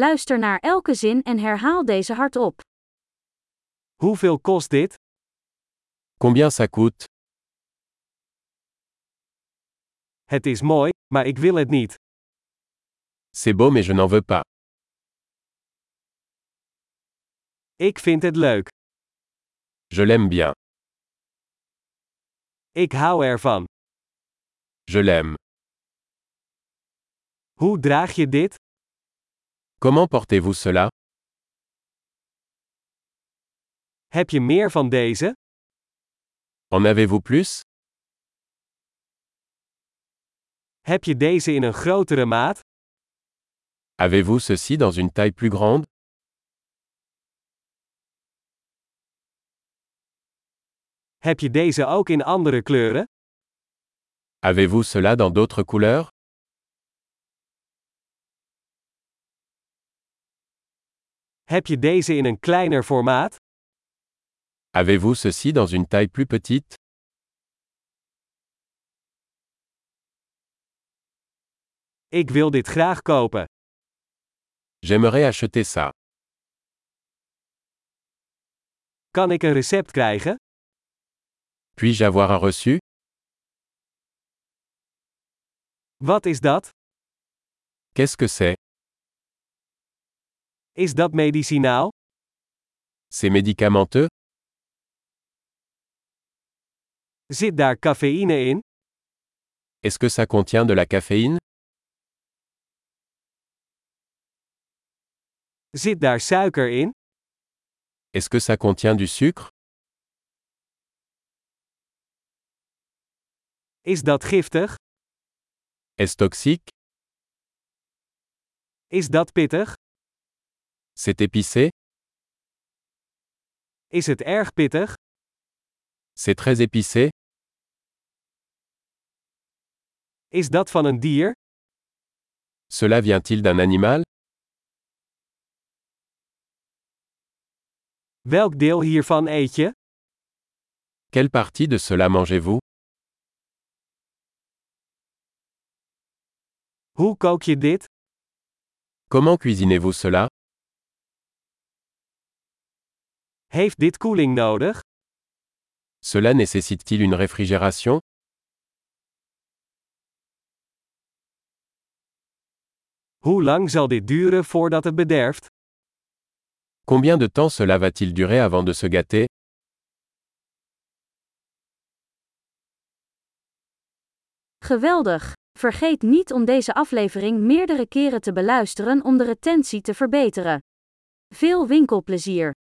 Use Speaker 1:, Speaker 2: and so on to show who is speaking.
Speaker 1: Luister naar elke zin en herhaal deze hardop.
Speaker 2: Hoeveel kost dit?
Speaker 3: Combien ça coûte
Speaker 2: Het is mooi, maar ik wil het niet.
Speaker 3: C'est beau mais je n'en veux pas.
Speaker 2: Ik vind het leuk.
Speaker 3: Je l'aime bien.
Speaker 2: Ik hou ervan.
Speaker 3: Je l'aime.
Speaker 2: Hoe draag je dit?
Speaker 3: Comment portez-vous cela
Speaker 2: Heb je meer van deze?
Speaker 3: En avez-vous plus
Speaker 2: Heb je deze in een grotere maat?
Speaker 3: Avez-vous ceci dans une taille plus grande
Speaker 2: Heb je deze ook in andere kleuren?
Speaker 3: Avez-vous cela dans d'autres couleurs
Speaker 2: Heb je deze in een kleiner formaat?
Speaker 3: Avez-vous ceci dans une taille plus petite
Speaker 2: Ik wil dit graag kopen.
Speaker 3: J'aimerais acheter ça.
Speaker 2: Kan ik een recept krijgen?
Speaker 3: Puis-je avoir un reçu
Speaker 2: Wat is dat?
Speaker 3: Qu'est-ce que c'est
Speaker 2: Is dat medicinaal?
Speaker 3: C'est médicamenteux
Speaker 2: Zit daar cafeïne in?
Speaker 3: Est-ce que ça contient de la caféine
Speaker 2: Zit daar suiker in?
Speaker 3: Est-ce que ça contient du sucre
Speaker 2: Is dat giftig?
Speaker 3: Est-ce toxique
Speaker 2: Is dat pittig?
Speaker 3: C'est épicé
Speaker 2: Is het erg pittig?
Speaker 3: C'est très épicé
Speaker 2: Is dat van een dier?
Speaker 3: Cela vient-il d'un animal
Speaker 2: Welk deel hiervan eet je?
Speaker 3: Quelle partie de cela mangez-vous
Speaker 2: Hoe kook je dit?
Speaker 3: Comment cuisinez-vous cela
Speaker 2: Heeft dit koeling nodig?
Speaker 3: Cela nécessite-t-il une réfrigération
Speaker 2: Hoe lang zal dit duren voordat het bederft?
Speaker 3: Combien de temps cela va-t-il durer avant de se gâter
Speaker 1: Geweldig! Vergeet niet om deze aflevering meerdere keren te beluisteren om de retentie te verbeteren. Veel winkelplezier!